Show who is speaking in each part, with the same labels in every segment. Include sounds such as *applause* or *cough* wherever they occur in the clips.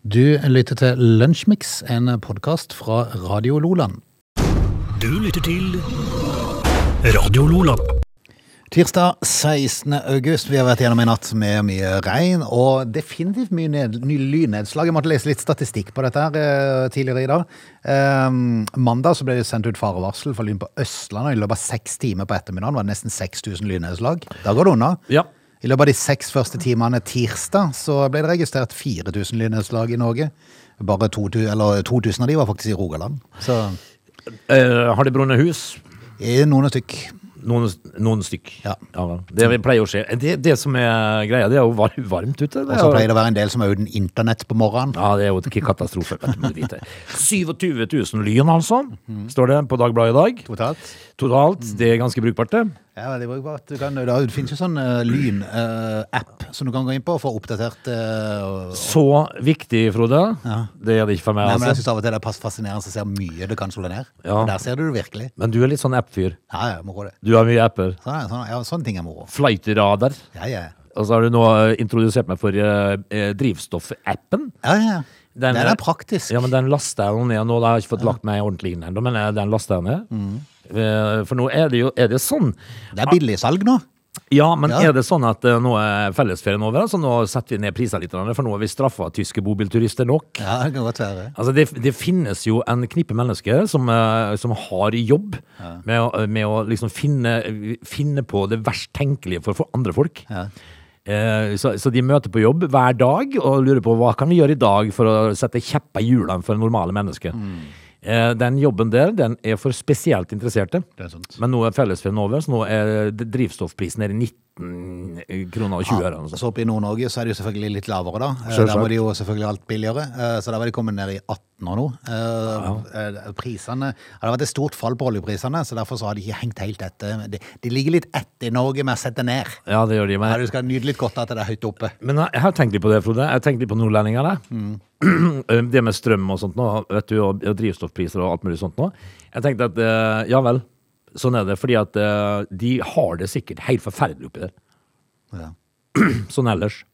Speaker 1: Du lytter til Lunsjmix, en podkast fra Radio Loland.
Speaker 2: Du lytter til Radio Lola.
Speaker 1: Tirsdag 16. august. Vi har vært gjennom en natt med mye regn, og definitivt mye ned, ny lynnedslag. Jeg måtte lese litt statistikk på dette her eh, tidligere i dag. Ehm, mandag så ble det sendt ut farevarsel for lyn på Østlandet. og I løpet av seks timer på ettermiddagen var det nesten 6000 lynnedslag. Da går det unna.
Speaker 3: Ja.
Speaker 1: I løpet av de seks første timene tirsdag så ble det registrert 4000 lynnedslag i Norge. Bare 2000, eller 2000 av de var faktisk i Rogaland. Så
Speaker 3: Eh, har det brunnet hus?
Speaker 1: eh, noen stykk.
Speaker 3: Noen, noen stykk.
Speaker 1: Ja.
Speaker 3: vel. Det vi pleier å skje. Det, det som er greia, det er jo var, varmt ute.
Speaker 1: Og så pleier det å være en del som er uten internett på morgenen.
Speaker 3: Ja, det er jo ikke katastrofe. vet du, må du vite. 27 000 lyn, altså, står det på Dagbladet i dag.
Speaker 1: Totalt.
Speaker 3: Totalt.
Speaker 1: Mm.
Speaker 3: Det er ganske brukbart, det.
Speaker 1: Ja, veldig brukbart. Du kan, da, det finnes jo sånn uh, lyn-app som du kan gå inn på og få oppdatert. eh, og,
Speaker 3: Så viktig, Frode. Det er det ikke for meg.
Speaker 1: nei, men jeg
Speaker 3: Altså.
Speaker 1: synes av og til det er pass fascinerende å se hvor mye du kan slå deg ned.
Speaker 3: Ja.
Speaker 1: Og Der ser du det virkelig.
Speaker 3: Men du er litt sånn app-fyr.
Speaker 1: Ja, ja, moro det.
Speaker 3: Du har mye apper.
Speaker 1: Sånn, er- sånn, ja, sånne ting er moro.
Speaker 3: Flightradar.
Speaker 1: Ja, ja.
Speaker 3: Og så har du nå eh, introdusert meg for eh, eh, drivstoffappen.
Speaker 1: ja, ja. Den,
Speaker 3: Den
Speaker 1: er,
Speaker 3: er-
Speaker 1: praktisk.
Speaker 3: Ja, men den laster jeg jo ned nå. Da har jeg ikke fått lagt meg ordentlig inn ennå, men eh, den laster jeg ned.
Speaker 1: Mm.
Speaker 3: Eh, For nå er det jo er det sånn
Speaker 1: Det er billig salg nå.
Speaker 3: Ja, men
Speaker 1: Ja.
Speaker 3: er det sånn at eh, nå er fellesferien over, så nå setter vi ned prisene litt, for nå har vi straffa tyske bobilturister nok?
Speaker 1: Ja, det kan godt være.
Speaker 3: Altså, det, det finnes jo en knippe mennesker som, eh, som har jobb med, å- med å liksom finne, finne på det verst tenkelige for, for andre folk.
Speaker 1: Ja.
Speaker 3: Eh, Så, så de møter på jobb hver dag og lurer på hva kan vi gjøre i dag for å sette kjepper i hjulene for normale mennesker. Eh, Den jobben der den er for spesielt interesserte.
Speaker 1: Det er sant.
Speaker 3: Men nå er fellesferien over, så nå er d- drivstoffprisen nede i 19 kroner og 20 øre.
Speaker 1: Så oppe i Nord-Norge så er det jo selvfølgelig litt lavere da. Eh,
Speaker 3: Selvsagt.
Speaker 1: Der var det jo selvfølgelig alt billigere. Eh, Så der var de kommet ned i 18 år nå. Eh, eh, Priserne, ja, det har vært et stort fall på oljepriserne, så derfor så har de ikke hengt helt etter. De, de ligger litt etter i Norge med å sette ned.
Speaker 3: Ja, det gjør de.
Speaker 1: Ja,
Speaker 3: Men,
Speaker 1: du skal nyte litt godt av at det er høyt oppe.
Speaker 3: men jeg- jeg har tenkt litt på det, Frode. Jeg har tenkt litt på nordlendingene. *clears throat* Eh, Det med strøm og sånt nå, vet du, og og drivstoffpriser og alt mulig sånt nå. Jeg tenkte at eh, ja vel, sånn er det. Fordi at eh, de har det sikkert helt forferdelig oppi der. *clears throat*
Speaker 1: Ja.
Speaker 3: sånn ellers.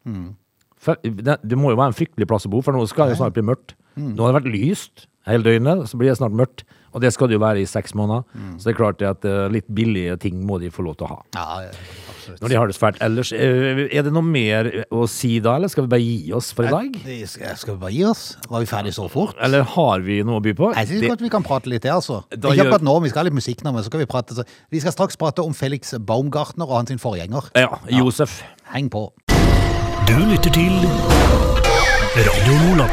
Speaker 3: For, det, det må jo være en fryktelig plass å bo, for nå skal det jo snart bli mørkt. Nå har det vært lyst hele døgnet, så blir det snart mørkt. Og det skal det jo være i seks måneder. Så det er klart det at eh, litt billige ting må de få lov til å ha.
Speaker 1: Ja, eh, absolutt.
Speaker 3: Når de har det svært ellers. eh, Er det noe mer å si da, eller skal vi bare gi oss for i dag?
Speaker 1: De Skal skal vi bare gi oss? Var vi ferdige så fort?
Speaker 3: Eller har vi noe å by på?
Speaker 1: Jeg synes
Speaker 3: Det-
Speaker 1: godt vi kan prate litt, det, altså.
Speaker 3: Da
Speaker 1: Ikke
Speaker 3: gjør-
Speaker 1: akkurat nå, vi skal ha litt musikk nå, men så skal vi prate. så- Vi skal straks prate om Felix Baumgartner og hans sin forgjenger.
Speaker 3: Ja, Josef.
Speaker 1: Heng på.
Speaker 2: Du lytter til Radio Lola.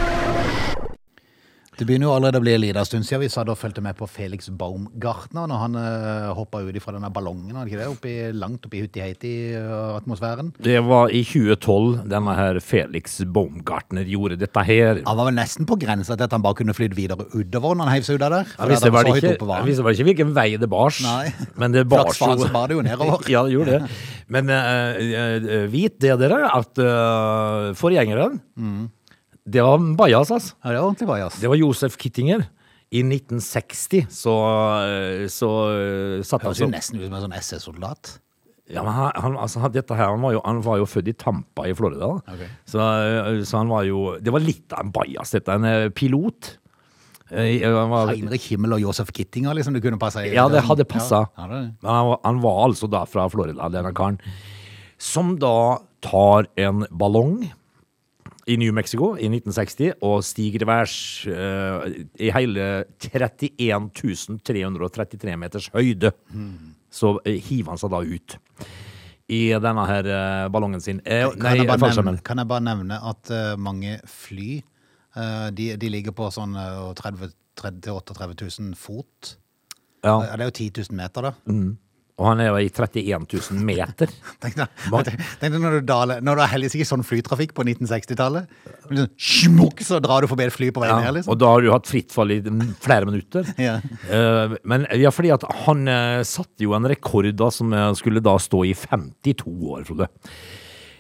Speaker 1: Det begynner jo allerede å bli en liten stund siden vi satt og fulgte med på Felix Baumgartner når han uh, hoppa ut fra denne ballongen, var det ikke det? Oppi, langt oppi eh, Hutti-Heiti-atmosfæren.
Speaker 3: Det var i 2012 denne her Felix Baumgartner gjorde dette her.
Speaker 1: Han var vel nesten på grensa til at han bare kunne flydd videre utover når han heiv seg ut av der.
Speaker 3: Jeg
Speaker 1: fordi at
Speaker 3: visste
Speaker 1: han så
Speaker 3: vel
Speaker 1: høyt
Speaker 3: ikke,
Speaker 1: oppe var
Speaker 3: jeg
Speaker 1: han.
Speaker 3: visste vel ikke hvilken vei det bars.
Speaker 1: Nei.
Speaker 3: Men det
Speaker 1: Flaks
Speaker 3: bars
Speaker 1: for han så bar det jo nedover.
Speaker 3: *laughs* ja, det gjorde det. Men eh, eh, vit det, dere, at eh, forgjengeren,
Speaker 1: Mm.
Speaker 3: det var en bajas, altså.
Speaker 1: Ja, det var ordentlig bajas.
Speaker 3: Det var Josef Kittinger. I 1960 så, eh, så eh, satt han
Speaker 1: Høres jo
Speaker 3: som
Speaker 1: nesten ut som en sånn SS-soldat.
Speaker 3: ja, men han, han, altså, han- dette her, han, var jo, han var jo født i Tampa i Florida. da.
Speaker 1: Ok.
Speaker 3: Så, eh, så han var jo Det var litt av en bajas, dette. En eh, pilot. Eh, han var-
Speaker 1: Heinrich Himmel og Josef Kittinger, liksom. Det kunne passe i-
Speaker 3: Ja, det hadde passa.
Speaker 1: Ja, ja, det-
Speaker 3: Men han, var- han var altså da fra Florida, denne karen. Som da tar en ballong i New Mexico i 1960 og stiger i værs eh, i hele 31 333 meters høyde. Så eh, hiver han seg da ut i denne her eh, ballongen sin. Eh,
Speaker 1: kan,
Speaker 3: nei,
Speaker 1: jeg bare
Speaker 3: fallskjermen.
Speaker 1: nevne, kan jeg bare nevne at eh, mange fly eh, de, de ligger på sånn eh, 30 38 000 fot.
Speaker 3: Ja, Mm.
Speaker 1: Ja, det er jo 10 000 meter, da.
Speaker 3: og han er jo i 31 000 meter.
Speaker 1: Tenk deg, *laughs* tenk deg når du daler Når du har heldigvis ikke sånn flytrafikk på 1960-tallet. Liksom, smukk, så drar du forbi et fly på vei
Speaker 3: Ja,
Speaker 1: ned, liksom.
Speaker 3: Og da har du hatt fritt fall i mm, flere minutter.
Speaker 1: Ja.
Speaker 3: Eh, men ja, fordi at han eh, satte jo en rekord da som eh, skulle da stå i 52 år, Frode.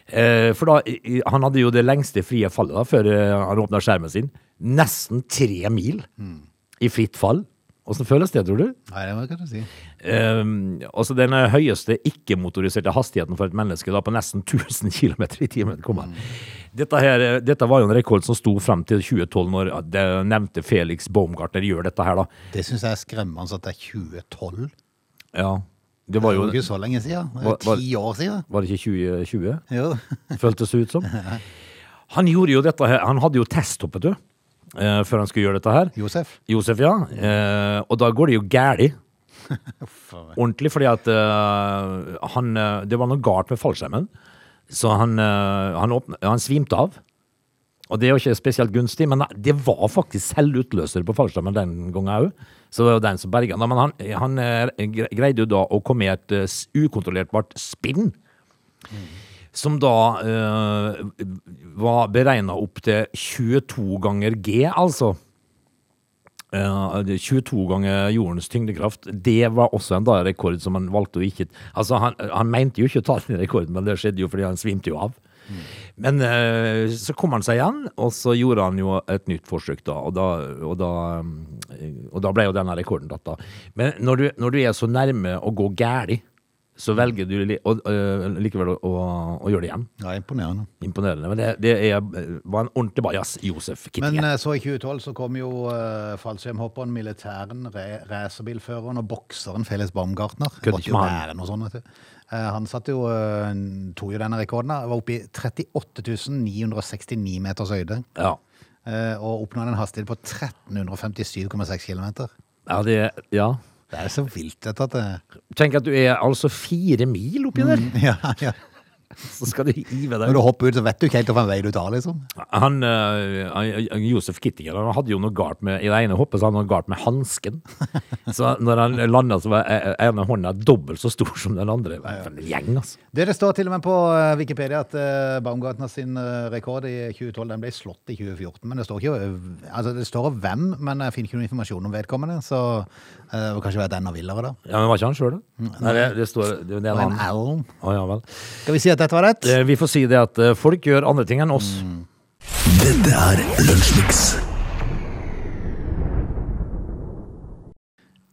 Speaker 3: Eh, for da, i- i- han hadde jo det lengste frie fallet
Speaker 1: Mm.
Speaker 3: da, før eh, han åpna skjermen sin. Nesten tre mil i fritt fall. Åssen føles det, tror du?
Speaker 1: Nei, det må jeg kanskje si.
Speaker 3: Ehm, altså den høyeste ikke-motoriserte hastigheten for et menneske da, på nesten *laughs* 1000 km i timen. kom han. Dette, her, eh, dette var jo en rekord som sto frem til 2012, når eh, det nevnte Felix Baumgartner gjør dette her. da.
Speaker 1: Det syns jeg er skremmende at det er 2012.
Speaker 3: Ja, Det var
Speaker 1: Det
Speaker 3: jo
Speaker 1: er jo ikke så lenge siden. Det er
Speaker 3: Hva- hva-
Speaker 1: Ti år siden.
Speaker 3: Var det ikke 2020?
Speaker 1: Jo. *laughs*
Speaker 3: føltes det ut som. Han gjorde jo dette her, han hadde jo testhoppet, du, eh, før han skulle gjøre dette her.
Speaker 1: Josef.
Speaker 3: Josef, ja. Eh, og da går det jo gæli. Ordentlig, fordi at eh, han eh, Det var noe galt med fallskjermen. Så han, eh, han, åpna, han svimte av. Og det er jo ikke spesielt gunstig, men det var faktisk selvutløser på fallskjermen den gangen òg. Så det var den som berga han. Men han, han eh, gre- greide jo da å komme i et eh, s- ukontrollerbart spinn. Som da eh, var beregna opp til 22 ganger G, altså. Eh, 22 ganger jordens tyngdekraft. Det var også en da rekord som han valgte å ikke Altså, han, han mente jo ikke å ta den rekorden, men det skjedde jo fordi han svimte jo av. Men eh, så kom han seg igjen, og så gjorde han jo et nytt forsøk, da. Og da, og da, eh, og da ble jo denne rekorden tatt, da. Men når du, når du er så nærme å gå gæli, så velger du li, og, eh, likevel å, å, å gjøre det igjen.
Speaker 1: Ja, imponerende.
Speaker 3: Imponerende. Men det, det er, eh, var en ordentlig bajas, Josef
Speaker 1: Men
Speaker 3: Kittinger.
Speaker 1: eh, så i 2012 så kom jo eh, fallskjermhopperen, militæren, re- racerbilføreren og bokseren Felix Baumgartner. Det
Speaker 3: Kødder
Speaker 1: måtte
Speaker 3: ikke
Speaker 1: jo
Speaker 3: med han.
Speaker 1: være noe sånt, vet du. Eh, han satt jo, eh, tog jo denne rekorden. da. Var oppe i 38 969 meters høyde.
Speaker 3: Ja.
Speaker 1: eh, og oppnådde en hastighet på 1357,6 km.
Speaker 3: Ja, det, ja.
Speaker 1: Det er jo så vilt, dette. At det...
Speaker 3: Tenk at du er altså fire mil oppi der,
Speaker 1: *laughs* ja, ja.
Speaker 3: så skal du hive
Speaker 1: Når
Speaker 3: deg.
Speaker 1: du hopper ut, så vet du ikke helt hvilken vei du tar, liksom.
Speaker 3: Han, eh, han- Josef Kittinger han hadde jo noe galt med I det ene hoppet så hadde han noe galt med *laughs* hansken. Så når han landa, så var eh, ene hånda dobbelt så stor som den andre. Hva er det For en gjeng, altså.
Speaker 1: Det, det står til og med på eh, Wikipedia at eh, Baumgartner sin eh, rekord i 2012 den ble slått i 2014. Men det står ikke eh, altså det står hvem, men jeg finner ikke noe informasjon om vedkommende. Så eh, det var kanskje vært enda villere, da.
Speaker 3: Ja, men Var ikke han sjøl, da? Nei, det, det står det, det er
Speaker 1: Og en
Speaker 3: en annen.
Speaker 1: Allen.
Speaker 3: Å, ja, vel.
Speaker 1: Skal vi si at dette var rett?
Speaker 3: Eh, Vi får si det at eh, folk gjør andre ting enn oss.
Speaker 2: Dette er Lunsjmix.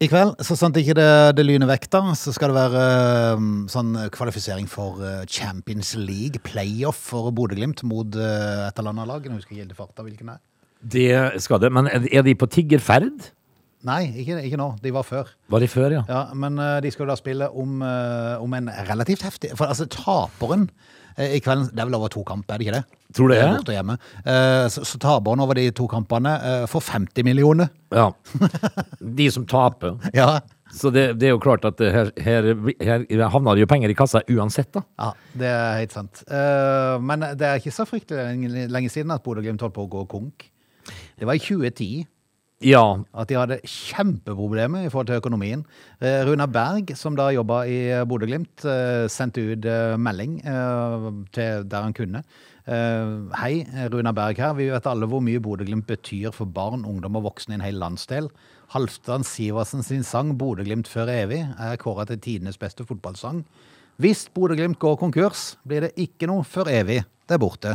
Speaker 1: I kveld, så sant ikke det, det lyner vekk, da, så skal det være eh, sånn kvalifisering for eh, Champions League, playoff for Bodø-Glimt mot eh, et eller annet lag. Jeg husker ikke helt i farta hvilken det er.
Speaker 3: Det skal det. Men er er de på tiggerferd?
Speaker 1: Nei, ikke, ikke nå. De var før.
Speaker 3: Var de før, ja?
Speaker 1: Ja, men eh, de skal jo da spille om, eh, om en relativt heftig For altså, taperen eh, i kvelden Det er vel over to kamper, er det ikke det?
Speaker 3: Tror du det?
Speaker 1: Eh, borte og hjemme. Eh, så, så taperen over de to kampene eh, får 50 millioner. *laughs*
Speaker 3: ja. De som taper.
Speaker 1: Ja.
Speaker 3: Så det, det er jo klart at det her, her, her havner det jo penger i kassa uansett, da.
Speaker 1: ja. Det er helt sant. Eh, men det er ikke så fryktelig lenge, lenge siden at Bodø Glimt holdt på å gå konk. Det var i 2010.
Speaker 3: Ja,
Speaker 1: At de hadde kjempeproblemer i forhold til økonomien. Eh, Runa Berg, som da jobba i Bodø-Glimt, eh, sendte ut eh, melding eh, til der han kunne. Eh, Hei, Runa Berg her. Vi vet alle hvor mye Bodø-Glimt betyr for barn, ungdom og voksne i en hel landsdel. Halvdan Sivertsen sin sang 'Bodø-Glimt før evig' er kåra til tidenes beste fotballsang. Hvis Bodø-Glimt går konkurs, blir det ikke noe før evig. Det er borte.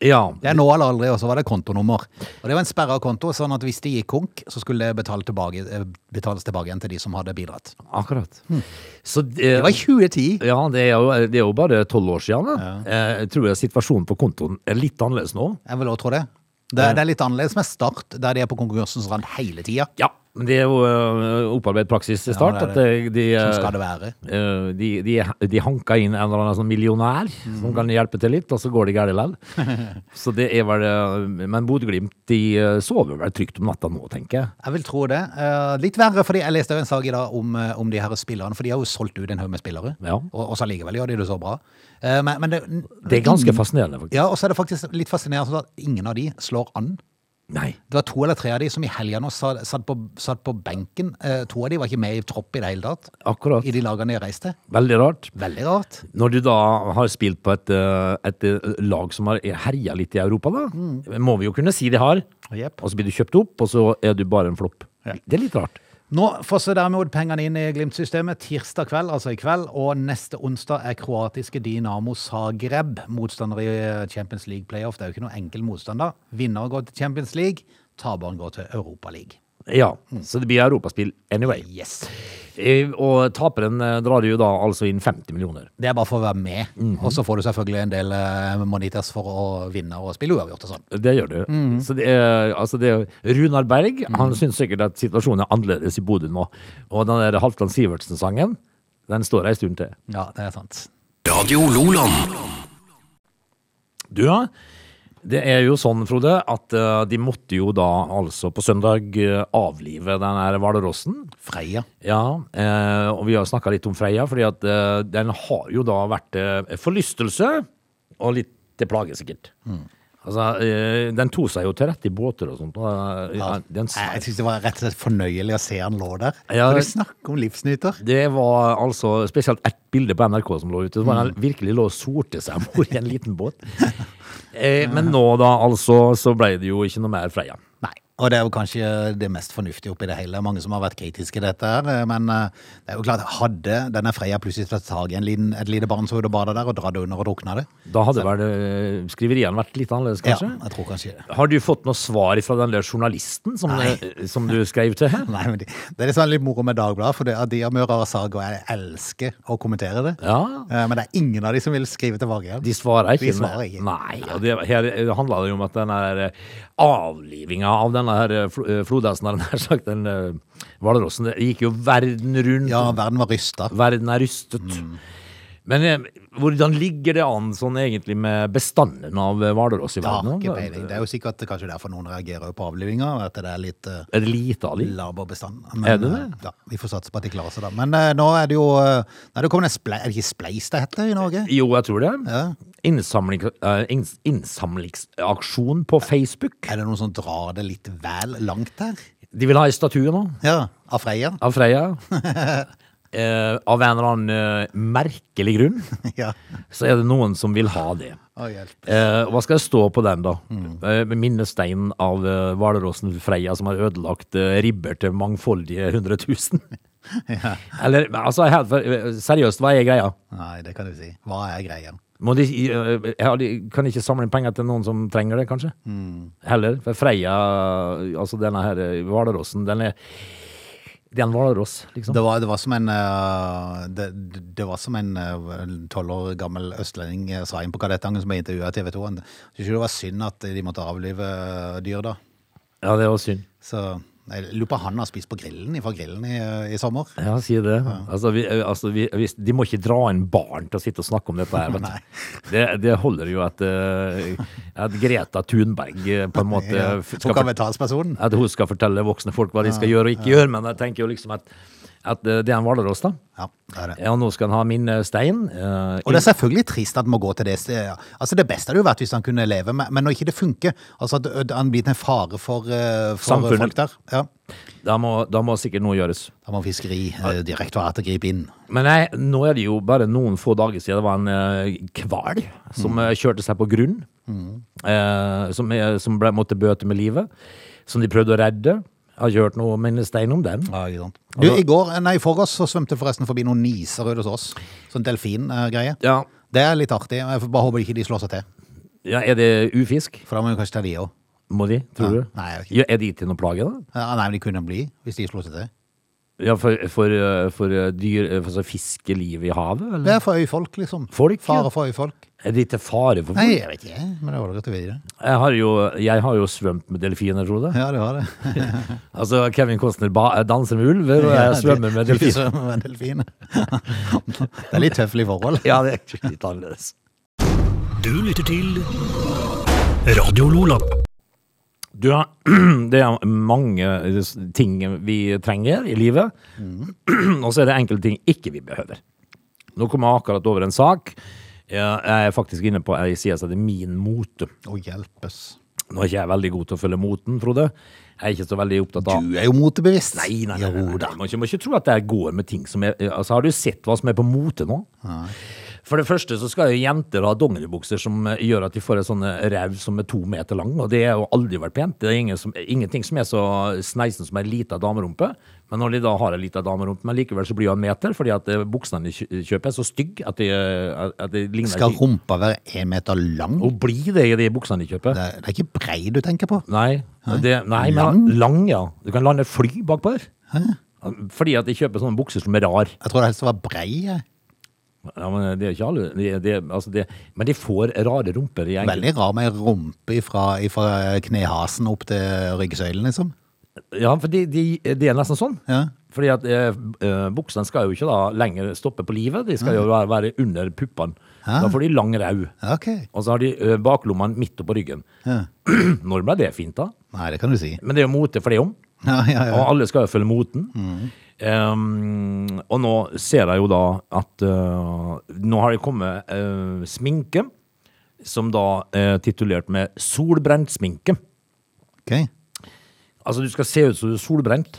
Speaker 3: ja.
Speaker 1: Det er nå eller aldri, og så var det kontonummer. Og det var en sperra konto, sånn at hvis de gikk konk, så skulle det betale tilbake, eh, betales tilbake igjen til de som hadde bidratt.
Speaker 3: akkurat. Hm. Så det,
Speaker 1: Det var i 2010.
Speaker 3: ja, det er jo, det er jo bare tolv år siden. Da. Eh, Jeg tror jeg situasjonen på kontoen er litt annerledes nå.
Speaker 1: Jeg vil også tro det. Det, det er litt annerledes med Start, der de er på konkursens rand hele tida.
Speaker 3: Ja, men det er jo eh, opparbeidet praksis til start.
Speaker 1: Ja, det er
Speaker 3: at eh, de,
Speaker 1: Sånn
Speaker 3: eh,
Speaker 1: skal det være.
Speaker 3: eh, de, de, de hanka inn en eller annen sånn millionær
Speaker 1: Mm.
Speaker 3: som kan hjelpe til litt, og så går det galt likevel.
Speaker 1: *laughs*
Speaker 3: Så det er vel eh, Men Bodø-Glimt de eh, sover vel trygt om natta nå, tenker jeg.
Speaker 1: Jeg vil tro det. Eh, litt verre, fordi jeg leste jo en sak i dag om, eh, om de her spillerne. For de har jo solgt ut en haug med spillere,
Speaker 3: Ja.
Speaker 1: og, og så allikevel gjør de det så bra. Eh, men, men det,
Speaker 3: Det er ganske fascinerende, faktisk.
Speaker 1: Ja, og så er det faktisk litt fascinerende at ingen av de slår an.
Speaker 3: Nei.
Speaker 1: Det var to eller tre av de som i helga nå satt, satt, på, satt på benken. Eh, to av de var ikke med i tropp i det hele tatt.
Speaker 3: Akkurat.
Speaker 1: I de lagene de reiste.
Speaker 3: Veldig rart.
Speaker 1: Veldig rart.
Speaker 3: Når du da har spilt på et, eh, et eh, lag som har herja litt i Europa, da, må vi jo kunne si de har.
Speaker 1: Jepp.
Speaker 3: Og så blir du kjøpt opp, og så er du bare en flopp. Det er litt rart.
Speaker 1: Nå fosser derimot pengene inn i Glimt-systemet tirsdag kveld, altså i kveld. Og neste onsdag er kroatiske Dinamo Zagreb motstander i eh, Champions League playoff. Det er jo ikke noen enkel motstander. Vinner går til Champions League, taperen går til Europa League.
Speaker 3: Ja, så det blir europaspill anyway.
Speaker 1: Yes.
Speaker 3: Eh, Og taperen eh, drar jo da altså inn 50 millioner.
Speaker 1: Det er bare for å være med. Og så får du selvfølgelig en del eh, Monitas for å vinne og spille uavgjort og sånn.
Speaker 3: Det gjør du. Så det er, altså det er Runar Berg han syns sikkert at situasjonen er annerledes i Bodø nå. Og den der Halvdan Sivertsen-sangen, den står ei stund til.
Speaker 1: Ja, det er sant.
Speaker 2: Radio Loland.
Speaker 3: Du, ja. Det er jo sånn, Frode, at eh, de måtte jo da altså på søndag eh, avlive den her hvalrossen.
Speaker 1: Freia.
Speaker 3: Ja, eh, og vi har snakka litt om Freia, fordi at eh, den har jo da vært eh, forlystelse og litt til plage, sikkert.
Speaker 1: Mm.
Speaker 3: Altså, eh, den tok seg jo til rette i båter og sånt. Og, eh, ja. den,
Speaker 1: Nei, Jeg syns det var rett og slett fornøyelig å se han lå der.
Speaker 3: Ja.
Speaker 1: Kan du snakke om livsnyter?
Speaker 3: det var altså spesielt ett bilde på NRK som lå ute. hvor Han
Speaker 1: Mm.
Speaker 3: virkelig lå og sorte seg *laughs* om bord i en liten
Speaker 1: *laughs*
Speaker 3: båt. Eh, men nå, da, altså, så ble det jo ikke noe mer Freia.
Speaker 1: Nei. Og det er jo kanskje det mest fornuftige oppi det hele. Mange som har vært kritiske til dette her. eh, Men eh, det er jo klart, hadde denne Freia plutselig tatt tak i en liten- et lite barn som var ute og bada der, og dratt det under og drukna det?
Speaker 3: Da hadde vel eh, skriveriene vært litt annerledes,
Speaker 1: Ja,
Speaker 3: kanskje?
Speaker 1: jeg tror kanskje det. *laughs*
Speaker 3: Har du fått noe svar fra den der journalisten som,
Speaker 1: Nei.
Speaker 3: eh, som du skrev til?
Speaker 1: Nei, men de, Det er litt sånn litt moro med Dagbladet, for det er de har mye rare saker, og jeg elsker å kommentere det.
Speaker 3: Ja.
Speaker 1: Eh, Men det er ingen av de som vil skrive tilbake igjen.
Speaker 3: De svarer ikke.
Speaker 1: De svarer ikke.
Speaker 3: Nei, og det, her handla det jo om at den her eh, avlivinga av denne her eh, fl- eh, flodhesten, har jeg nær sagt, den eh, hvalrossen, det gikk jo verden rundt.
Speaker 1: Ja, Mm. verden var rysta.
Speaker 3: Verden er rystet. Men eh, hvordan ligger det an sånn egentlig med bestanden av eh, hvalross i
Speaker 1: Ja,
Speaker 3: verden?
Speaker 1: ikke peiling. Det er jo sikkert kanskje derfor noen reagerer på avlivinga, at det er litt eh,
Speaker 3: Er det lite av dem?
Speaker 1: laber bestand.
Speaker 3: Er det det?
Speaker 1: eh, Ja, vi får satse på at de klarer seg, da. Men eh, nå er det jo eh, Nei, det kommer en sple... Er det ikke Spleis det heter i Norge?
Speaker 3: Jo, jeg tror det.
Speaker 1: Ja.
Speaker 3: Innsamling, eh, inns, innsamlingsaksjon på Facebook.
Speaker 1: Er det noen som drar det litt vel langt der?
Speaker 3: De vil ha ei statue nå.
Speaker 1: Ja, av Freia? *laughs*
Speaker 3: Av Freia. Eh, av en eller annen eh, merkelig grunn,
Speaker 1: ja.
Speaker 3: så er det noen som vil ha det.
Speaker 1: Å, hjelp. *laughs*
Speaker 3: Eh, hva skal det stå på den, da? Eh, med minnestein av eh, hvalrossen Freia som har ødelagt eh, ribber til mangfoldige hundre tusen? *laughs* Eller altså, helt for- seriøst, hva er greia?
Speaker 1: Nei, det kan du si. Hva er greia?
Speaker 3: Må de, eh, har de- kan de ikke samle inn penger til noen som trenger det, kanskje?
Speaker 1: Mm.
Speaker 3: Heller. For Freia, altså denne her eh, hvalrossen, den er Det er en hvalross, liksom.
Speaker 1: Det var, det var som en eh, det, det det var som en eh, tolv år gammel østlending eh, sa inn på Kadettangen som ble intervjua av TV 2. Han syntes jo det var synd at de måtte avlive eh, dyr da.
Speaker 3: Ja, det var synd.
Speaker 1: Så jeg lurer på om han har spist på grillen fra grillen i, eh, i sommer.
Speaker 3: Ja, si det. Altså, vi, altså, vi, hvis- de må ikke dra inn barn til å sitte og snakke om dette her. Vet
Speaker 1: *laughs* Nei.
Speaker 3: du. Det, det holder jo at, eh, at Greta Thunberg eh, på en måte
Speaker 1: *laughs* Ja,
Speaker 3: f- skal
Speaker 1: Tok han
Speaker 3: fort-
Speaker 1: med talspersonen?
Speaker 3: at hun skal fortelle voksne folk hva de skal gjøre og ikke gjøre, men jeg tenker jo liksom at, at eh, det er en hvalross, da.
Speaker 1: Ja, det er det.
Speaker 3: Ja, nå skal han ha minnestein. eh,
Speaker 1: Og det er selvfølgelig trist at han må gå til det stedet. Altså Det beste hadde jo vært hvis han kunne leve, men men når ikke det funker Altså at ø, han blir til en fare for, eh, for
Speaker 3: Samfunnet.
Speaker 1: folk der. Ja.
Speaker 3: Da må, da må sikkert noe gjøres.
Speaker 1: Da må Fiskeridirektoratet gripe inn.
Speaker 3: Men nei, nå er det jo bare noen få dager siden det var en eh, hval som eh, kjørte seg på grunn. eh, som eh, som ble, måtte bøte med livet. Som de prøvde å redde. Jeg har ikke hørt noe minnestein om den.
Speaker 1: Ja, ikke sant. Du,
Speaker 3: Altså-
Speaker 1: I går, eh, nei, i forgårs så svømte det forresten forbi noen niser ute hos oss. Sånn delfingreie.
Speaker 3: Ja,
Speaker 1: Det er litt artig. Jeg får bare håper ikke de slår seg til.
Speaker 3: ja Er det ufisk?
Speaker 1: For da må vi kanskje ta de òg.
Speaker 3: Må de, tror
Speaker 1: Ja.
Speaker 3: du?
Speaker 1: Nei, jeg vet ikke.
Speaker 3: ja, er de til noe plage, da?
Speaker 1: Ja, nei, men de kunne bli hvis de slo seg til.
Speaker 3: Ja, For, for, eh, for eh, dyr eh, for så fiskeliv i havet? Eller?
Speaker 1: Det er for øyfolk, liksom.
Speaker 3: Folk, ja.
Speaker 1: Fare for øyfolk.
Speaker 3: Er de til fare for
Speaker 1: Nei, jeg vet ikke, men det var det godt å vite.
Speaker 3: Jeg har jo, jeg har jo svømt med delfiner, Frode.
Speaker 1: Ja, det var det.
Speaker 3: Altså, Kevin Costner ba, danser med ulver, og jeg svømmer med
Speaker 1: Du
Speaker 3: delfiner.
Speaker 1: Svømmer med delfin. Det er litt tøffelig forhold.
Speaker 3: *laughs* Ja, det er litt annerledes.
Speaker 2: Du lytter til Radio Loland.
Speaker 3: Du, ja, *clears throat* det er mange ting vi trenger i livet, *clears throat* og så er det enkelte ting ikke vi behøver. Nå kom jeg akkurat over en sak. Jeg er faktisk inne på ei side som heter Min mote.
Speaker 1: Å hjelpes.
Speaker 3: Nå er ikke jeg veldig god til å følge moten, Frode. Jeg er ikke så veldig opptatt av
Speaker 1: Du er jo motebevisst.
Speaker 3: Nei, nei, nei, nei,
Speaker 1: Jo
Speaker 3: nei.
Speaker 1: da.
Speaker 3: Man må ikke- må ikke tro at det her går med ting som er Altså, har du sett hva som er på mote nå? For det første så skal jo jenter ha dongeribukser som eh, gjør at de får en sånn eh, ræv som er to meter lang, og det har jo aldri vært pent. Det er ingen som, ingenting som er så sneisen som ei lita damerumpe, men når de da har ei lita damerumpe, men likevel så blir hun en meter, fordi at eh, buksene de kjø- kjøper er så stygge at de, eh, at- at de ligner
Speaker 1: Skal
Speaker 3: ikke-
Speaker 1: rumpa være én meter lang?
Speaker 3: Hun blir det i de buksene de kjøper.
Speaker 1: Det er, det er ikke brei du tenker på.
Speaker 3: Nei, det, nei lang? men lang, ja. Du kan lande et fly bakpå der. Fordi at de kjøper sånne bukser som er rar.
Speaker 1: Jeg tror det helst var brei. jeg.
Speaker 3: Ja, men det er ikke alle det, det, altså det, Men de får rare rumper i enkelte
Speaker 1: Veldig rar med rumpe fra, knehasen opp til ryggsøylen, liksom.
Speaker 3: Ja, for det de, de er nesten sånn.
Speaker 1: Ja.
Speaker 3: Fordi at eh, eh, buksene skal jo ikke da lenger stoppe på livet, de skal jo være, være under puppene.
Speaker 1: Ja.
Speaker 3: Da får de lang rau.
Speaker 1: Ja, Ok.
Speaker 3: Og så har de eh, baklommene midt oppå ryggen.
Speaker 1: Ja.
Speaker 3: *clears throat* Når ble det fint, da?
Speaker 1: Nei, det kan du si.
Speaker 3: Men det er jo mote for det om.
Speaker 1: Ja, ja, ja.
Speaker 3: Og alle skal jo følge moten. Um, og nå ser jeg jo da at uh, Nå har det kommet uh, sminke, som da er titulert med solbrent sminke.
Speaker 1: Ok. Det
Speaker 3: Altså, du skal se ut som du er solbrent.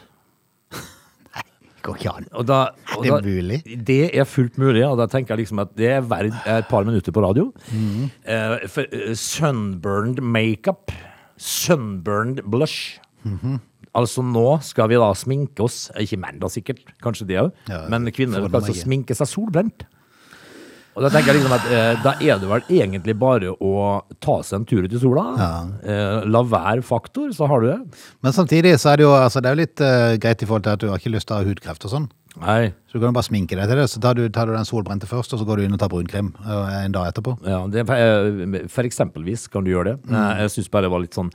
Speaker 1: går ikke an.
Speaker 3: Og da,
Speaker 1: Er
Speaker 3: og
Speaker 1: det
Speaker 3: da,
Speaker 1: mulig?
Speaker 3: Det er fullt mulig, og da tenker jeg liksom at det er verdt et par minutter på radio.
Speaker 1: Mm.
Speaker 3: Eh, for, eh, sunburned makeup. Sunburned blush.
Speaker 1: Mm-hmm.
Speaker 3: Altså nå skal vi da sminke oss, Eh, ikke menn da sikkert, kanskje det òg,
Speaker 1: Ja,
Speaker 3: men kvinner
Speaker 1: får
Speaker 3: skal
Speaker 1: de
Speaker 3: altså
Speaker 1: ikke.
Speaker 3: sminke seg solbrent. Og da tenker jeg liksom at eh, da er det vel egentlig bare å ta seg en tur ut i sola. Eh, la være faktor, så har du det.
Speaker 1: Men samtidig så er det jo, altså, det er jo litt eh, greit i forhold til at du har ikke lyst til å ha hudkreft og sånn.
Speaker 3: Nei.
Speaker 1: Så du kan jo bare sminke deg til det. Så tar du, tar du den solbrente først, og så går du inn og tar brunkrem eh, en dag etterpå.
Speaker 3: Ja, det, eh, for eksempelvis kan du gjøre det.
Speaker 1: Mm.
Speaker 3: Eh, Jeg synes bare det var litt sånn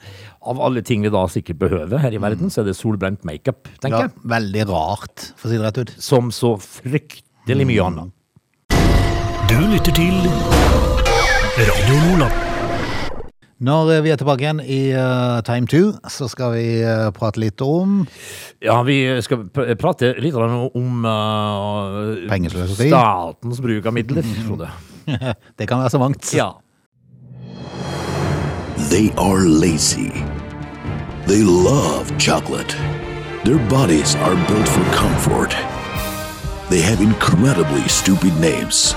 Speaker 3: Av alle ting vi da sikkert behøver her i verden, så er det solbrent makeup, tenker
Speaker 1: Mm. Ja,
Speaker 3: jeg.
Speaker 1: veldig rart, for å si det rett ut.
Speaker 3: Som så fryktelig
Speaker 1: Mm.
Speaker 3: mye annet.
Speaker 2: Du lytter til Radio Lola.
Speaker 1: Når eh, vi er tilbake igjen i eh, Time 2, så skal vi eh, prate litt om *laughs*
Speaker 3: Ja, vi skal pr prate litt grann om eh,
Speaker 1: Pengesløseri. Mm.
Speaker 3: Statens bruk av midler,
Speaker 1: *laughs*
Speaker 3: Frode.
Speaker 1: Det kan være så mangt.
Speaker 3: Ja.
Speaker 4: They are lazy. They love chocolate. Their bodies are built for comfort. They have incredibly stupid names.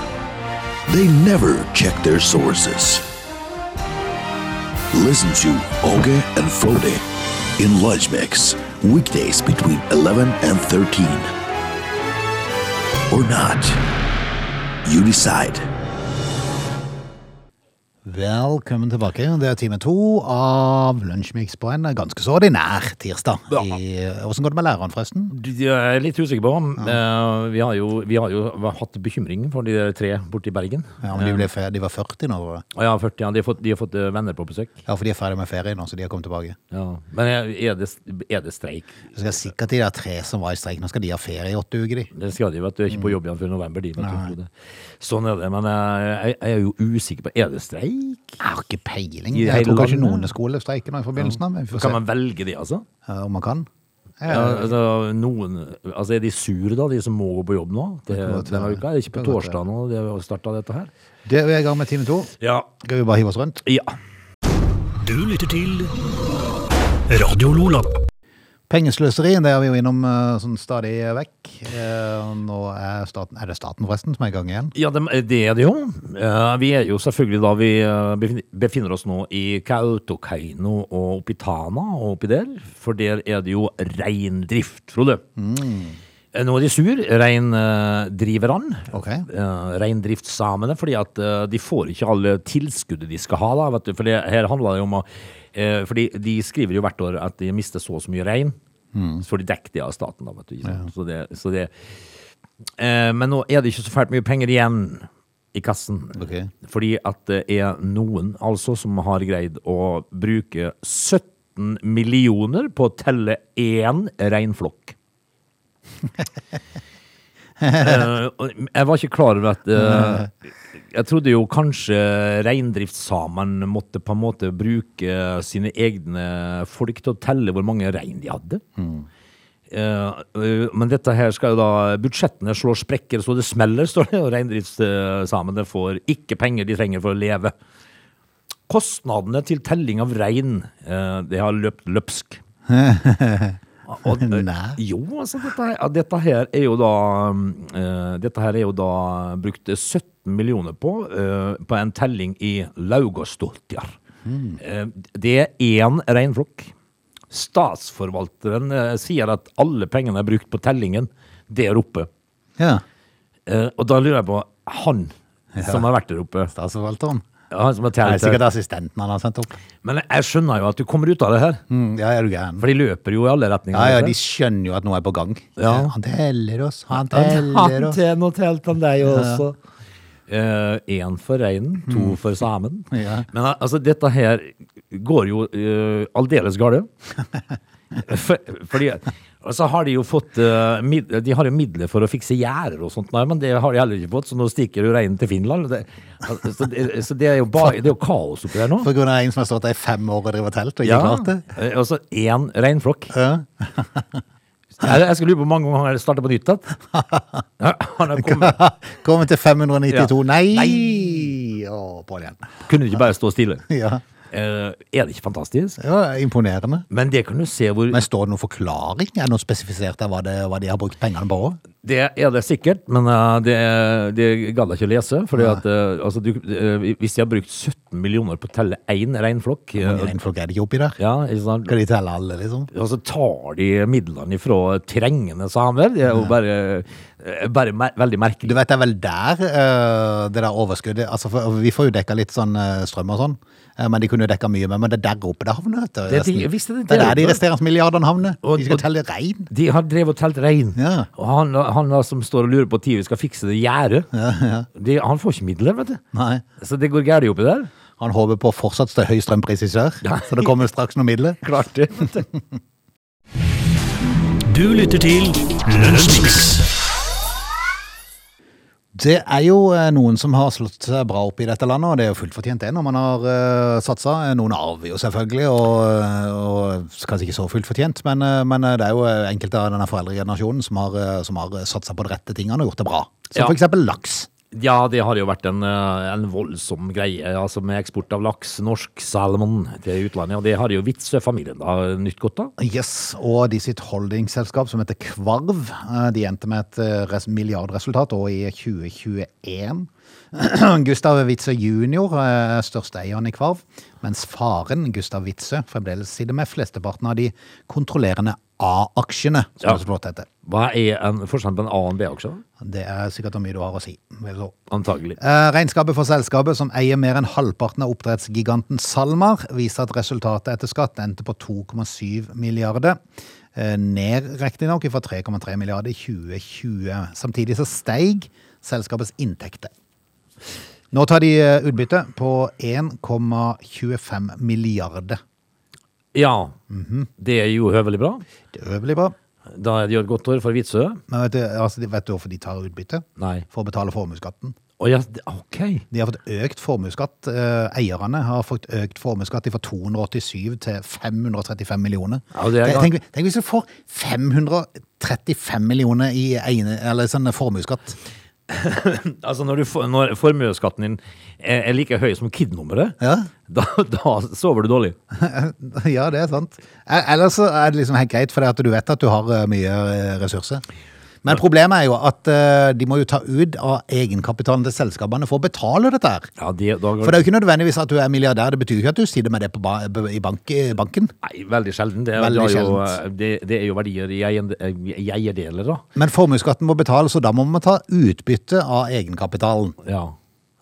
Speaker 4: They never check their sources. Listen to Oge and Frode in Lunch Mix, weekdays between 11 and 13. Or not. You decide.
Speaker 1: Velkommen tilbake. Det er time to av Lunsjmix på en eh, ganske så ordinær tirsdag.
Speaker 3: Ja.
Speaker 1: I, hvordan går det med læreren, forresten?
Speaker 3: Jeg er litt usikker på om eh, vi, har jo, vi har jo hatt bekymring for de der tre borte i Bergen.
Speaker 1: Ja, men de, ble fe- de var 40 nå. var det?
Speaker 3: Og jeg har 40, ja, de, har fått, de har fått eh, venner på besøk.
Speaker 1: Ja, for de er ferdig med ferie nå, så de har kommet tilbake.
Speaker 3: Ja. Men er det, er det streik?
Speaker 1: Så skal sikkert de der tre som var i streik, nå skal de ha ferie i åtte uker, de.
Speaker 3: Det skal de, vet du. Er
Speaker 1: Mm.
Speaker 3: ikke på jobb igjen før november. De, vet du, Frode. sånn er det. Men jeg, jeg- jeg er jo usikker på Er det streik?
Speaker 1: Jeg har ikke peiling.
Speaker 3: I
Speaker 1: Jeg
Speaker 3: hele
Speaker 1: tror kanskje
Speaker 3: landet?
Speaker 1: noen skoler streiker nå i forbindelsen av, men vi får
Speaker 3: Kan
Speaker 1: se
Speaker 3: man velge de, altså?
Speaker 1: eh, om man kan. Eh,
Speaker 3: Ja,
Speaker 1: Ja,
Speaker 3: altså, noen, altså Er de sure, da, de som må gå på jobb nå? Det,
Speaker 1: kan godt
Speaker 3: denne
Speaker 1: være.
Speaker 3: uka? Er det ikke på
Speaker 1: Kan godt
Speaker 3: torsdag nå de har starta dette her?
Speaker 1: Det vi er i gang med time to.
Speaker 3: Ja.
Speaker 1: Skal vi bare hive oss rundt?
Speaker 3: ja.
Speaker 2: Du lytter til Radio Lola.
Speaker 1: Pengesløseri, det er vi jo innom eh, sånn stadig vekk. Eh, Nå er staten Er det staten forresten som er i gang igjen?
Speaker 3: Ja, det, det er det jo. Eh, Vi er jo selvfølgelig da vi eh, befin- befinner oss nå i Kautokeino og oppi Tana og oppi der, for der er det jo reindrift, Frode.
Speaker 1: Mm.
Speaker 3: Eh, Nå er de sur, reindriverne.
Speaker 1: Ok.
Speaker 3: Eh, reindriftssamene, fordi at eh, de får ikke alle tilskuddet de skal ha. da, vet du, for det, her handler det jo om å eh, fordi De skriver jo hvert år at de mister så og så mye rein. Så får de dekket det av staten. da, vet du, ikke sant? Så det, så det eh, Men nå er det ikke så fælt mye penger igjen i kassen.
Speaker 1: Ok.
Speaker 3: Fordi at det er noen altså som har greid å bruke 17 millioner på å telle én reinflokk. Eh, og jeg var ikke klar over at eh, Jeg trodde jo kanskje reindriftssamene måtte på en måte bruke sine egne folk til å telle hvor mange rein de hadde. Eh, eh, men dette her skal jo da Budsjettene slår sprekker så det smeller, står det. Og reindriftssamene får ikke penger de trenger for å leve.
Speaker 1: *laughs*
Speaker 3: Kostnadene til telling av rein, eh, det har løpt løpsk. Og,
Speaker 1: Nei.
Speaker 3: jo, altså dette, her- ja, dette her er jo da eh, Dette her er jo da brukt 17 millioner på eh, på en telling i Laugastoltjar. Eh, det er én reinflokk. Statsforvalteren eh, sier at alle pengene er brukt på tellingen der oppe.
Speaker 1: Ja.
Speaker 3: Eh, og da lurer jeg på Han som har vært der oppe.
Speaker 1: Statsforvalteren.
Speaker 3: ja, Han som har
Speaker 1: Det er
Speaker 3: telt
Speaker 1: sikkert
Speaker 3: her.
Speaker 1: assistenten han har sendt opp.
Speaker 3: Men jeg skjønner jo at du kommer ut av det her.
Speaker 1: Mm, ja, er du gæren?
Speaker 3: For de løper jo i alle retninger.
Speaker 1: Ja, ja,
Speaker 3: vet du.
Speaker 1: de skjønner jo at noe er på gang.
Speaker 3: Ja.
Speaker 1: Han teller oss, han teller oss.
Speaker 3: tjener og telte han deg også. Én Eh, for reinen,
Speaker 1: Mm.
Speaker 3: to for samen.
Speaker 1: Ja.
Speaker 3: Men al- altså, dette her går jo eh, aldeles
Speaker 1: *laughs*
Speaker 3: galt. For, fordi og så har de jo fått eh, mid, De har jo midler for å fikse gjerder og sånt, nei, men det har de heller ikke fått, så nå stikker jo reinen til Finland. og Det, altså, så, det, så det er jo bare, det er jo kaos oppi der nå.
Speaker 1: På grunn av en som har stått der i fem år og drevet telt og ikke
Speaker 3: Ja,
Speaker 1: klart det.
Speaker 3: eh, og så én reinflokk.
Speaker 1: Ja.
Speaker 3: Jeg, jeg skulle lure på hvor mange ganger han har startet på nytt igjen. Han har kommet,
Speaker 1: *laughs* Kommer til 592.
Speaker 3: Ja.
Speaker 1: Nei! Å, på igjen.
Speaker 3: Kunne de ikke bare stå stille?
Speaker 1: *laughs* Ja.
Speaker 3: Eh, er det ikke fantastisk?
Speaker 1: Det var imponerende.
Speaker 3: Men det kan du se hvor
Speaker 1: Men står det noen forklaring? Er det noe spesifisert av hva, det, hva de har brukt pengene på?
Speaker 3: Det er det sikkert, men eh, det, det gadd jeg ikke å lese. Fordi at, eh, altså, du, eh, hvis de har brukt 17 millioner på å telle én reinflokk eh,
Speaker 1: Mange reinfolk er det ikke oppi der?
Speaker 3: ja, ikke sant?
Speaker 1: Skal de telle alle, liksom?
Speaker 3: Og så tar de midlene fra trengende samer. Det er jo bare, eh, bare mer, veldig
Speaker 1: Du
Speaker 3: merkelig.
Speaker 1: vet, det er vel der eh, det der overskuddet altså for, Vi får jo dekka litt sånn eh, strøm og sånn, eh, men de kunne jo dekka mye mer. Men det er der oppe det havner. vet du,
Speaker 3: Det er de-
Speaker 1: resten.
Speaker 3: visst er det
Speaker 1: det er
Speaker 3: der
Speaker 1: der de
Speaker 3: oppe.
Speaker 1: resterende milliardene havner.
Speaker 3: Og-
Speaker 1: De skal
Speaker 3: og-
Speaker 1: telle rein.
Speaker 3: De har drevet og telt rein.
Speaker 1: Ja.
Speaker 3: Og han, han da som står og lurer på når vi skal fikse det gjerdet, De- han får ikke midler, vet du.
Speaker 1: Nei.
Speaker 3: Så det går galt oppi der.
Speaker 1: Han håper på fortsatt stø- høy strømpris i sør, så det kommer straks noen midler.
Speaker 3: *laughs* Klart det. vet du.
Speaker 2: Du lytter til Lunsjmix.
Speaker 1: Det er jo eh, noen som har slått seg bra opp i dette landet, og det er jo fullt fortjent det når man har eh, satsa. Noen arver jo selvfølgelig, eh, og, og kanskje ikke så fullt fortjent, men, eh, men det er jo eh, enkelte av denne foreldregenerasjonen som har, eh, som har satsa på de rette tingene og gjort det bra. Som
Speaker 3: Ja.
Speaker 1: for eksempel laks.
Speaker 3: Ja, det har jo vært en, eh, en voldsom greie, altså med eksport av laks, norsk salmon til utlandet, og det har jo Witzøe-familien da nytt godt av.
Speaker 1: Yes, og de sitt holdingselskap som heter Kvarv, eh, de endte med et eh, res- milliardresultat også i 2021. *clears throat* Gustav Witzøe jr. er største eieren i Kvarv, mens faren Gustav Witzøe fremdeles sitter med flesteparten av de kontrollerende A-aksjene, som
Speaker 3: Ja.
Speaker 1: det så flott heter.
Speaker 3: Hva er en, forskjellen på en A- og en B-aksje? da?
Speaker 1: Det er sikkert hvor mye du har å si. vil jeg tro.
Speaker 3: Antagelig.
Speaker 1: Eh, Regnskapet for selskapet, som eier mer enn halvparten av oppdrettsgiganten Salmar, viser at resultatet etter skatt endte på 2,7 milliarder. Eh, Ned riktignok fra 3,3 milliarder i 2020. Samtidig så steig selskapets inntekter. Nå tar de eh, utbytte på 1,25 milliarder.
Speaker 3: Ja, det er jo høvelig bra.
Speaker 1: Det er øvelig bra.
Speaker 3: Da er det jo et godt år for Witzøe.
Speaker 1: Men vet du, altså, vet du hvorfor de tar utbytte?
Speaker 3: Nei.
Speaker 1: For å betale formuesskatten.
Speaker 3: Å ja, det- ok.
Speaker 1: De har fått økt formuesskatt. eh, Eierne har fått økt formuesskatt fra 287 til 535 millioner.
Speaker 3: Ja, det er
Speaker 1: Tenk-
Speaker 3: galt.
Speaker 1: tenk, tenk hvis du får 535 millioner i eiene, eller sånn formuesskatt. *laughs*
Speaker 3: Altså når, du, får- når formuesskatten din er, er like høy som KID-nummeret,
Speaker 1: Ja.
Speaker 3: da, *laughs* da sover du dårlig.
Speaker 1: ja, det er sant. E- Ellers så er det liksom helt greit, for du vet at du har eh, mye eh, ressurser. Men problemet er jo at eh, de må jo ta ut av egenkapitalen til selskapene for å betale dette her.
Speaker 3: Ja, det, da går
Speaker 1: For det er jo ikke nødvendigvis at du er milliardær, det betyr jo ikke at du sitter med det på ba i bank eh, banken.
Speaker 3: Nei, veldig sjelden. Det, er-
Speaker 1: Veldig
Speaker 3: det, er jo,
Speaker 1: sjeldent.
Speaker 3: eh, det, det er jo verdier i eiende- eh, i eierdeler, da.
Speaker 1: Men formuesskatten må betales, og da må man ta utbytte av egenkapitalen.
Speaker 3: Ja.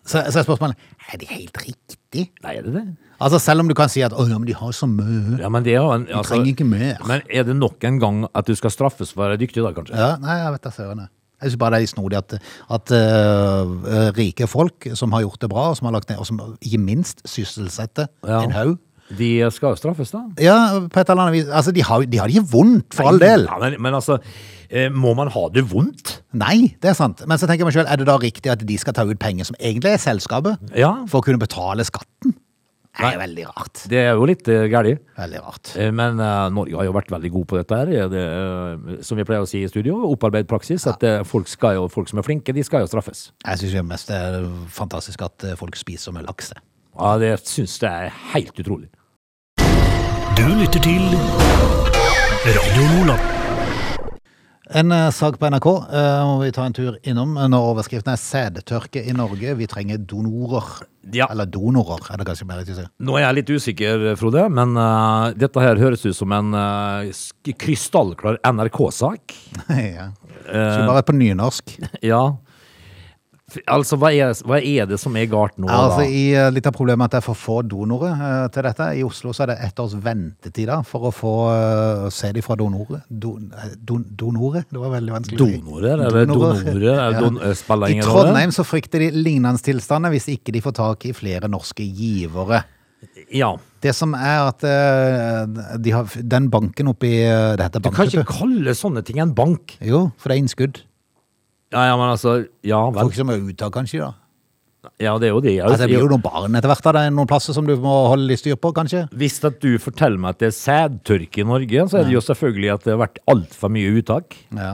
Speaker 1: Så, så er spørsmålet er det helt riktig.
Speaker 3: Nei, er det det?
Speaker 1: Altså Selv om du kan si at 'å ja, men de har så mye'.
Speaker 3: Ja, men det er jo en, altså,
Speaker 1: trenger ikke mer.
Speaker 3: Men er det nok en gang at du skal straffes for å være dyktig da, kanskje?
Speaker 1: Ja, nei, jeg vet da søren. jeg. Jeg syns bare det er litt snodig at, at øh, øh, rike folk som har gjort det bra, og som har lagt ned, og som ikke minst sysselsetter
Speaker 3: Ja.
Speaker 1: en haug
Speaker 3: De skal jo straffes, da.
Speaker 1: Ja, på et eller annet vis. Altså, de har de har det ikke vondt, for all del.
Speaker 3: Ja, men, men altså, eh, må man ha det vondt?
Speaker 1: Nei, det er sant. Men så tenker jeg meg selv, er det da riktig at de skal ta ut penger som egentlig er selskapet,
Speaker 3: Ja.
Speaker 1: for å kunne betale skatten? Det er veldig rart.
Speaker 3: Det er jo litt uh, gærent.
Speaker 1: Veldig rart.
Speaker 3: Eh, Men eh, Norge har jo vært veldig god på dette her, eh, det, eh, som vi pleier å si i studio. Opparbeid praksis. At eh, folk, skal jo, folk som er flinke, de skal jo straffes.
Speaker 1: Jeg syns mest det er fantastisk at eh, folk spiser med laks. det.
Speaker 3: Ja, Det syns jeg er helt utrolig.
Speaker 2: Du lytter til Radio Nordland.
Speaker 1: En eh, sak på NRK eh, må vi ta en tur innom eh, når overskriften er 'Sædtørke i Norge'. Vi trenger donorer.
Speaker 3: Ja.
Speaker 1: Eller donorer, er det kanskje mer riktig å si. *laughs*
Speaker 3: Nå er jeg litt usikker, Frode, men eh, dette her høres ut som en eh, sk- krystallklar NRK-sak.
Speaker 1: ja. Skulle bare vært på nynorsk.
Speaker 3: *laughs* Ja. F- Altså, hva er, hva er det som er galt nå,
Speaker 1: Altså,
Speaker 3: da?
Speaker 1: i, eh, litt av problemet er at det er for få donorer eh, til dette. I Oslo så er det ett års ventetid da, for å få eh, sæd fra donorer. Don, eh, don, donorer? Det var veldig vanskelig. å si.
Speaker 3: Donorer, eller donorer, eller don- eh, spiller
Speaker 1: I
Speaker 3: ingen rolle.
Speaker 1: Trondheim så frykter de lignende tilstander hvis ikke de får tak i flere norske givere.
Speaker 3: Ja.
Speaker 1: Det som er at eh, de har, den banken oppi eh, Det heter
Speaker 3: Du kan
Speaker 1: bank,
Speaker 3: ikke
Speaker 1: vet du.
Speaker 3: kalle sånne ting en bank.
Speaker 1: Jo, for det er innskudd.
Speaker 3: Ja, ja, men altså Ja vel.
Speaker 1: Folk som er ute, kanskje. da.
Speaker 3: Ja, det er jo det. Jeg-
Speaker 1: Altså, det blir jo noen barn etter hvert. da. Det er noen plasser som du må holde litt styr på, kanskje.
Speaker 3: Hvis at du forteller meg at det er sædtørke i Norge, så er det jo selvfølgelig at det har vært altfor mye uttak.
Speaker 1: Ja.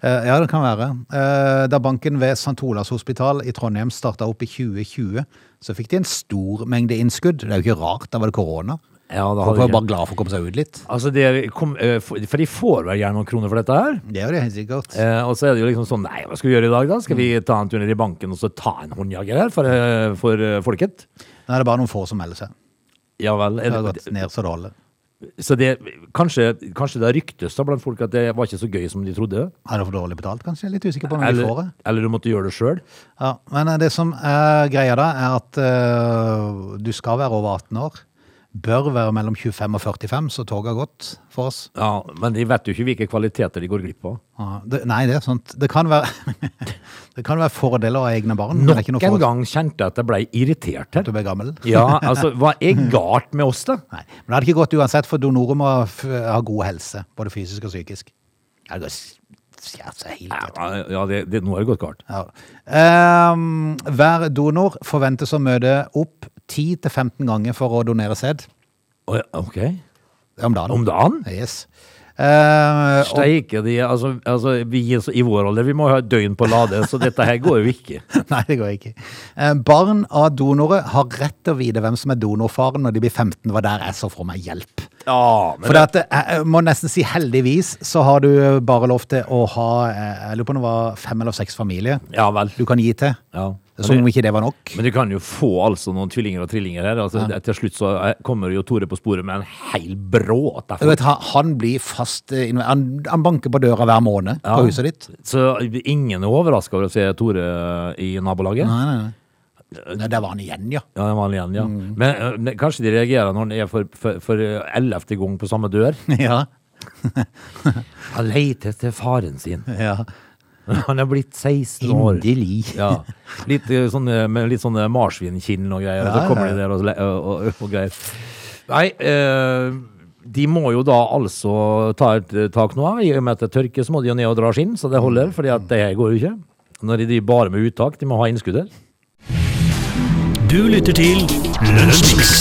Speaker 1: Eh, ja, det kan være. Eh, Da banken ved St. Olavs hospital i Trondheim starta opp i 2020, så fikk de en stor mengde innskudd. Det er jo ikke rart, da var det korona.
Speaker 3: Ja, da
Speaker 1: Folk
Speaker 3: hadde
Speaker 1: var
Speaker 3: ikke-
Speaker 1: bare glad for å komme seg ut litt.
Speaker 3: Altså, det er, kom, eh, for for de får vel gjerne noen kroner for dette her?
Speaker 1: Det er jo det, helt sikkert.
Speaker 3: Eh, og så er det jo liksom sånn Nei, hva skal vi gjøre i dag, da? Skal
Speaker 1: Mm.
Speaker 3: vi ta en tur ned i banken og så ta en håndjager her for, eh, for eh, folket?
Speaker 1: Nå er det bare noen få som melder seg.
Speaker 3: Ja vel.
Speaker 1: Det
Speaker 3: Er
Speaker 1: har
Speaker 3: det,
Speaker 1: gått ned så det holder.
Speaker 3: så det kanskje, kanskje det ryktes da blant folk at det var ikke så gøy som de trodde?
Speaker 1: Er det for dårlig betalt, kanskje? Jeg er litt usikker på om de får
Speaker 3: Eller,
Speaker 1: det.
Speaker 3: eller du måtte gjøre det sjøl?
Speaker 1: Ja, men eh, det som er greia da, er at eh, du skal være over 18 år. Bør være mellom 25 og 45, så toget har gått for oss.
Speaker 3: Ja, men de vet jo ikke hvilke kvaliteter de går glipp av.
Speaker 1: Ja, det, nei, det er sant. Det kan være, *laughs* det kan være fordeler å ha egne barn. men det er
Speaker 3: Nok
Speaker 1: ikke noe
Speaker 3: en
Speaker 1: forhold
Speaker 3: gang kjente jeg at jeg ble irritert
Speaker 1: til
Speaker 3: her.
Speaker 1: å bli gammel.
Speaker 3: Ja, altså, hva er galt med oss, da?
Speaker 1: *laughs* Nei, men det hadde ikke gått uansett, for donorer må ha, f ha god helse, både fysisk og psykisk. Det hadde gått s- skjært seg helt. ut.
Speaker 3: Ja, det, det, nå er det gått galt.
Speaker 1: Ja. Ehm, hver donor forventes å møte opp 10-15 ganger for å donere sæd
Speaker 3: Å, ja, Ok.
Speaker 1: om dagen.
Speaker 3: Om dagen?
Speaker 1: Yes. Ehm, og-
Speaker 3: Steike, de, altså, altså, vi er så- i vår alder, vi må ha døgn på lade, så dette her går jo ikke.
Speaker 1: *laughs* *laughs* Nei, det går ikke. Eh, Barn av donorer har rett til å vite hvem som er donorfaren når de blir 15. Var der jeg så for meg hjelp.
Speaker 3: Ja, men
Speaker 1: For det at, eh, jeg må nesten si heldigvis så har du eh, bare lov til å ha eh, jeg lurer på om det var fem eller seks familier
Speaker 3: Ja vel.
Speaker 1: du kan gi til.
Speaker 3: Ja.
Speaker 1: Som om ikke det sånn- var nok.
Speaker 3: Men du kan jo få altså noen tvillinger og trillinger her. Altså, Til slutt så eh, kommer jo Tore på sporet med en heil bråt.
Speaker 1: Du vet, han- han blir fast eh, inv- han, han banker på døra hver måned
Speaker 3: Ja.
Speaker 1: på huset ditt.
Speaker 3: Så ingen er overraska over å se Tore eh, i nabolaget.
Speaker 1: Nei, nei, nei. Nei, Der var han igjen, ja. *laughs*
Speaker 3: Ja, den var igjen, ja. Men, eh, men kanskje de reagerer når den er for, for, for ellevte gang på samme dør.
Speaker 1: ja.
Speaker 3: Han leter etter faren sin. *laughs*
Speaker 1: ja.
Speaker 3: Han er blitt 16 år.
Speaker 1: Endelig.
Speaker 3: Ja. Litt eh, sånn eh, med litt sånn eh, marsvinnkinn og greier. og
Speaker 1: Ja,
Speaker 3: så kommer
Speaker 1: ja.
Speaker 3: de der og, le- og, og, og greier. Nei, eh, de må jo da altså ta et eh, tak nå. I og med at det tørker, så må de jo ned og dra skinn, så det holder. fordi at det her går jo ikke. Når de driver bare med uttak, de må ha innskuddet.
Speaker 2: Du lytter til Lunsjmix.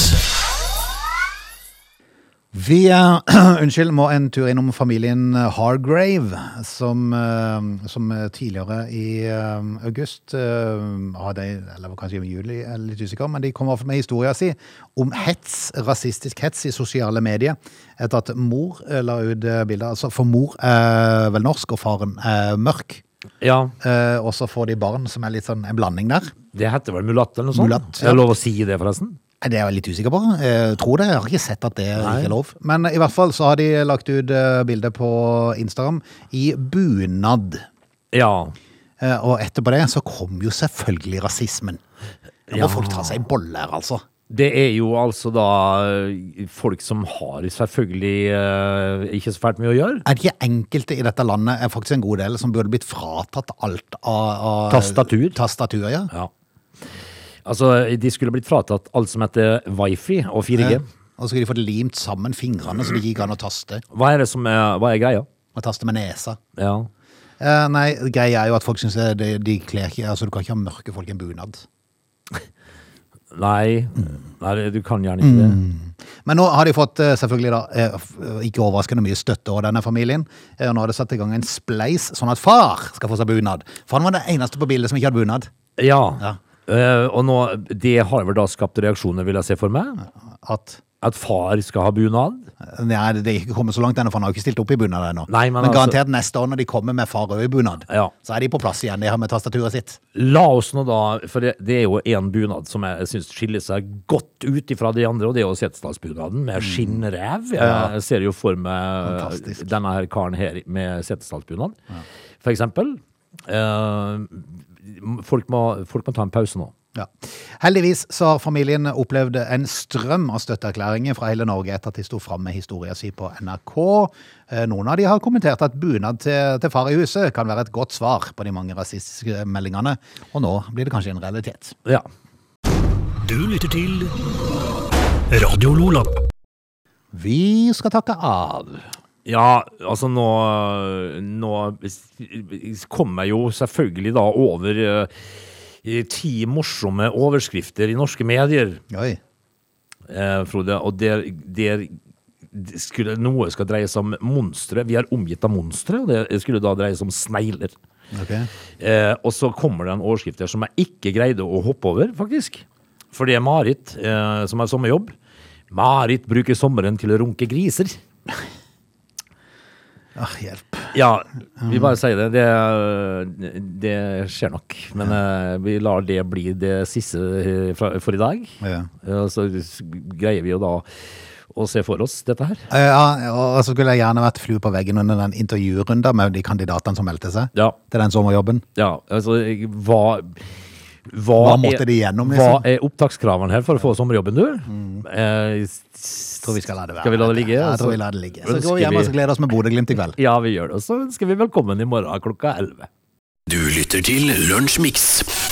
Speaker 1: Vi eh, *clears throat* unnskyld, må en tur innom familien Hargrave, som, eh, som tidligere i eh, august eh, hadde, eller kanskje i juli, jeg er litt usikker, men de kom i hvert fall med historien sin om hets, rasistisk hets i sosiale medier, etter at mor eh, la ut eh, bilder, altså for mor er vel norsk, og faren er mørk,
Speaker 3: Ja,
Speaker 1: Eh, og så får de barn som er litt sånn en blanding der.
Speaker 3: det heter vel mulatt eller noe sånt?
Speaker 1: Mulatt, ja.
Speaker 3: Er det lov å si det, forresten?
Speaker 1: Nei, Det er jeg litt usikker på. Jeg tror det. Jeg har ikke sett at det ikke er lov. Men i hvert fall så har de lagt ut eh, bilde på Instagram i bunad.
Speaker 3: Ja.
Speaker 1: Eh, Og etterpå det så kom jo selvfølgelig rasismen. Nå må folk ta seg i boller, altså.
Speaker 3: Det er jo altså da eh, folk som har selvfølgelig eh, ikke så fælt mye å gjøre.
Speaker 1: Er det ikke enkelte i dette landet, er faktisk en god del, som burde blitt fratatt alt av, av
Speaker 3: Tastatur.
Speaker 1: Tastatur, ja.
Speaker 3: Ja. Altså, de skulle blitt fratatt alt som heter wifi og 4G.
Speaker 1: Eh, Og så skulle de fått limt sammen fingrene, så det gikk an å taste.
Speaker 3: Hva er det som er, hva er greia?
Speaker 1: Og taste med nesa.
Speaker 3: Ja.
Speaker 1: Eh, nei, greia er jo at folk syns de, de kler ikke Altså, du kan ikke ha mørke folk i en bunad.
Speaker 3: Nei. Nei, du kan gjerne ikke det.
Speaker 1: Men nå har de fått eh, selvfølgelig da, eh, f- eh, ikke overraskende mye støtte over denne familien. Eh, Og nå har de satt i gang en spleis, sånn at far skal få seg bunad. For han var den eneste på bildet som ikke hadde bunad.
Speaker 3: Ja.
Speaker 1: Ja.
Speaker 3: Eh, og nå, det har vel da skapt reaksjoner, vil jeg se for meg.
Speaker 1: At eh,
Speaker 3: At far skal ha bunad?
Speaker 1: Nei, det er ikke kommet så langt ennå, for han har jo ikke stilt opp i bunad ennå.
Speaker 3: Nei, men
Speaker 1: men
Speaker 3: altså-
Speaker 1: garantert neste år, når de kommer med far òg i bunad,
Speaker 3: Ja.
Speaker 1: så er de på plass igjen, de her med tastaturet sitt.
Speaker 3: La oss nå da, for det, det er jo en bunad som jeg syns skiller seg godt ut ifra de andre, og det er jo Setesdalsbunaden med skinnrev. Jeg ser jo for meg
Speaker 1: Fantastisk.
Speaker 3: denne her karen her med Setesdalsbunad, for eksempel. Eh, folk, må, folk må ta en pause nå.
Speaker 1: Ja. Heldigvis så har familien opplevd en strøm av støtteerklæringer fra hele Norge etter at de sto fram med historien sin på NRK. Eh, Noen av de har kommentert at bunad til, til far i huset kan være et godt svar på de mange rasistiske meldingene, og nå blir det kanskje en realitet.
Speaker 3: Ja.
Speaker 2: Du lytter til Radio Lola.
Speaker 1: Vi skal takke av.
Speaker 3: Ja, altså nå, nå kom jeg jo selvfølgelig da over eh, ti morsomme overskrifter i norske medier.
Speaker 1: Oi.
Speaker 3: eh, Frode, og der, der skulle, noe skal dreie seg om monstre. Vi er omgitt av monstre, og det skulle da dreie seg om snegler.
Speaker 1: Ok.
Speaker 3: Eh, og så kommer det en overskrift der som jeg ikke greide å hoppe over, faktisk. For det er Marit eh, som har sommerjobb. Marit bruker sommeren til å runke griser.
Speaker 1: Ah, hjelp.
Speaker 3: Ja, vi bare sier det. Det, det skjer nok. Men eh, vi lar det bli det siste eh, fra- for i dag.
Speaker 1: Ja.
Speaker 3: Eh, så greier vi jo da å se for oss dette her.
Speaker 1: Eh, Ja, og så skulle jeg gjerne vært flue på veggen under den intervjurunden med de kandidatene som meldte seg
Speaker 3: Ja.
Speaker 1: til den sommerjobben.
Speaker 3: Ja, altså hva hva,
Speaker 1: Hva måtte de gjennom,
Speaker 3: Hva
Speaker 1: liksom? Mm.
Speaker 3: er opptakskravene her for å få sommerjobben, du? Eh, s-
Speaker 1: Tror vi skal la det være.
Speaker 3: Skal vi la det ligge?
Speaker 1: Ja, jeg
Speaker 3: Altså,
Speaker 1: tror vi lar det ligge. Så
Speaker 3: ønsker
Speaker 1: går vi hjem og
Speaker 3: vi-
Speaker 1: så gleder oss med Bodø-Glimt i kveld.
Speaker 3: Ja, vi gjør det. Og så ønsker vi velkommen i morgen klokka 11.
Speaker 4: Du lytter til Lunsjmix.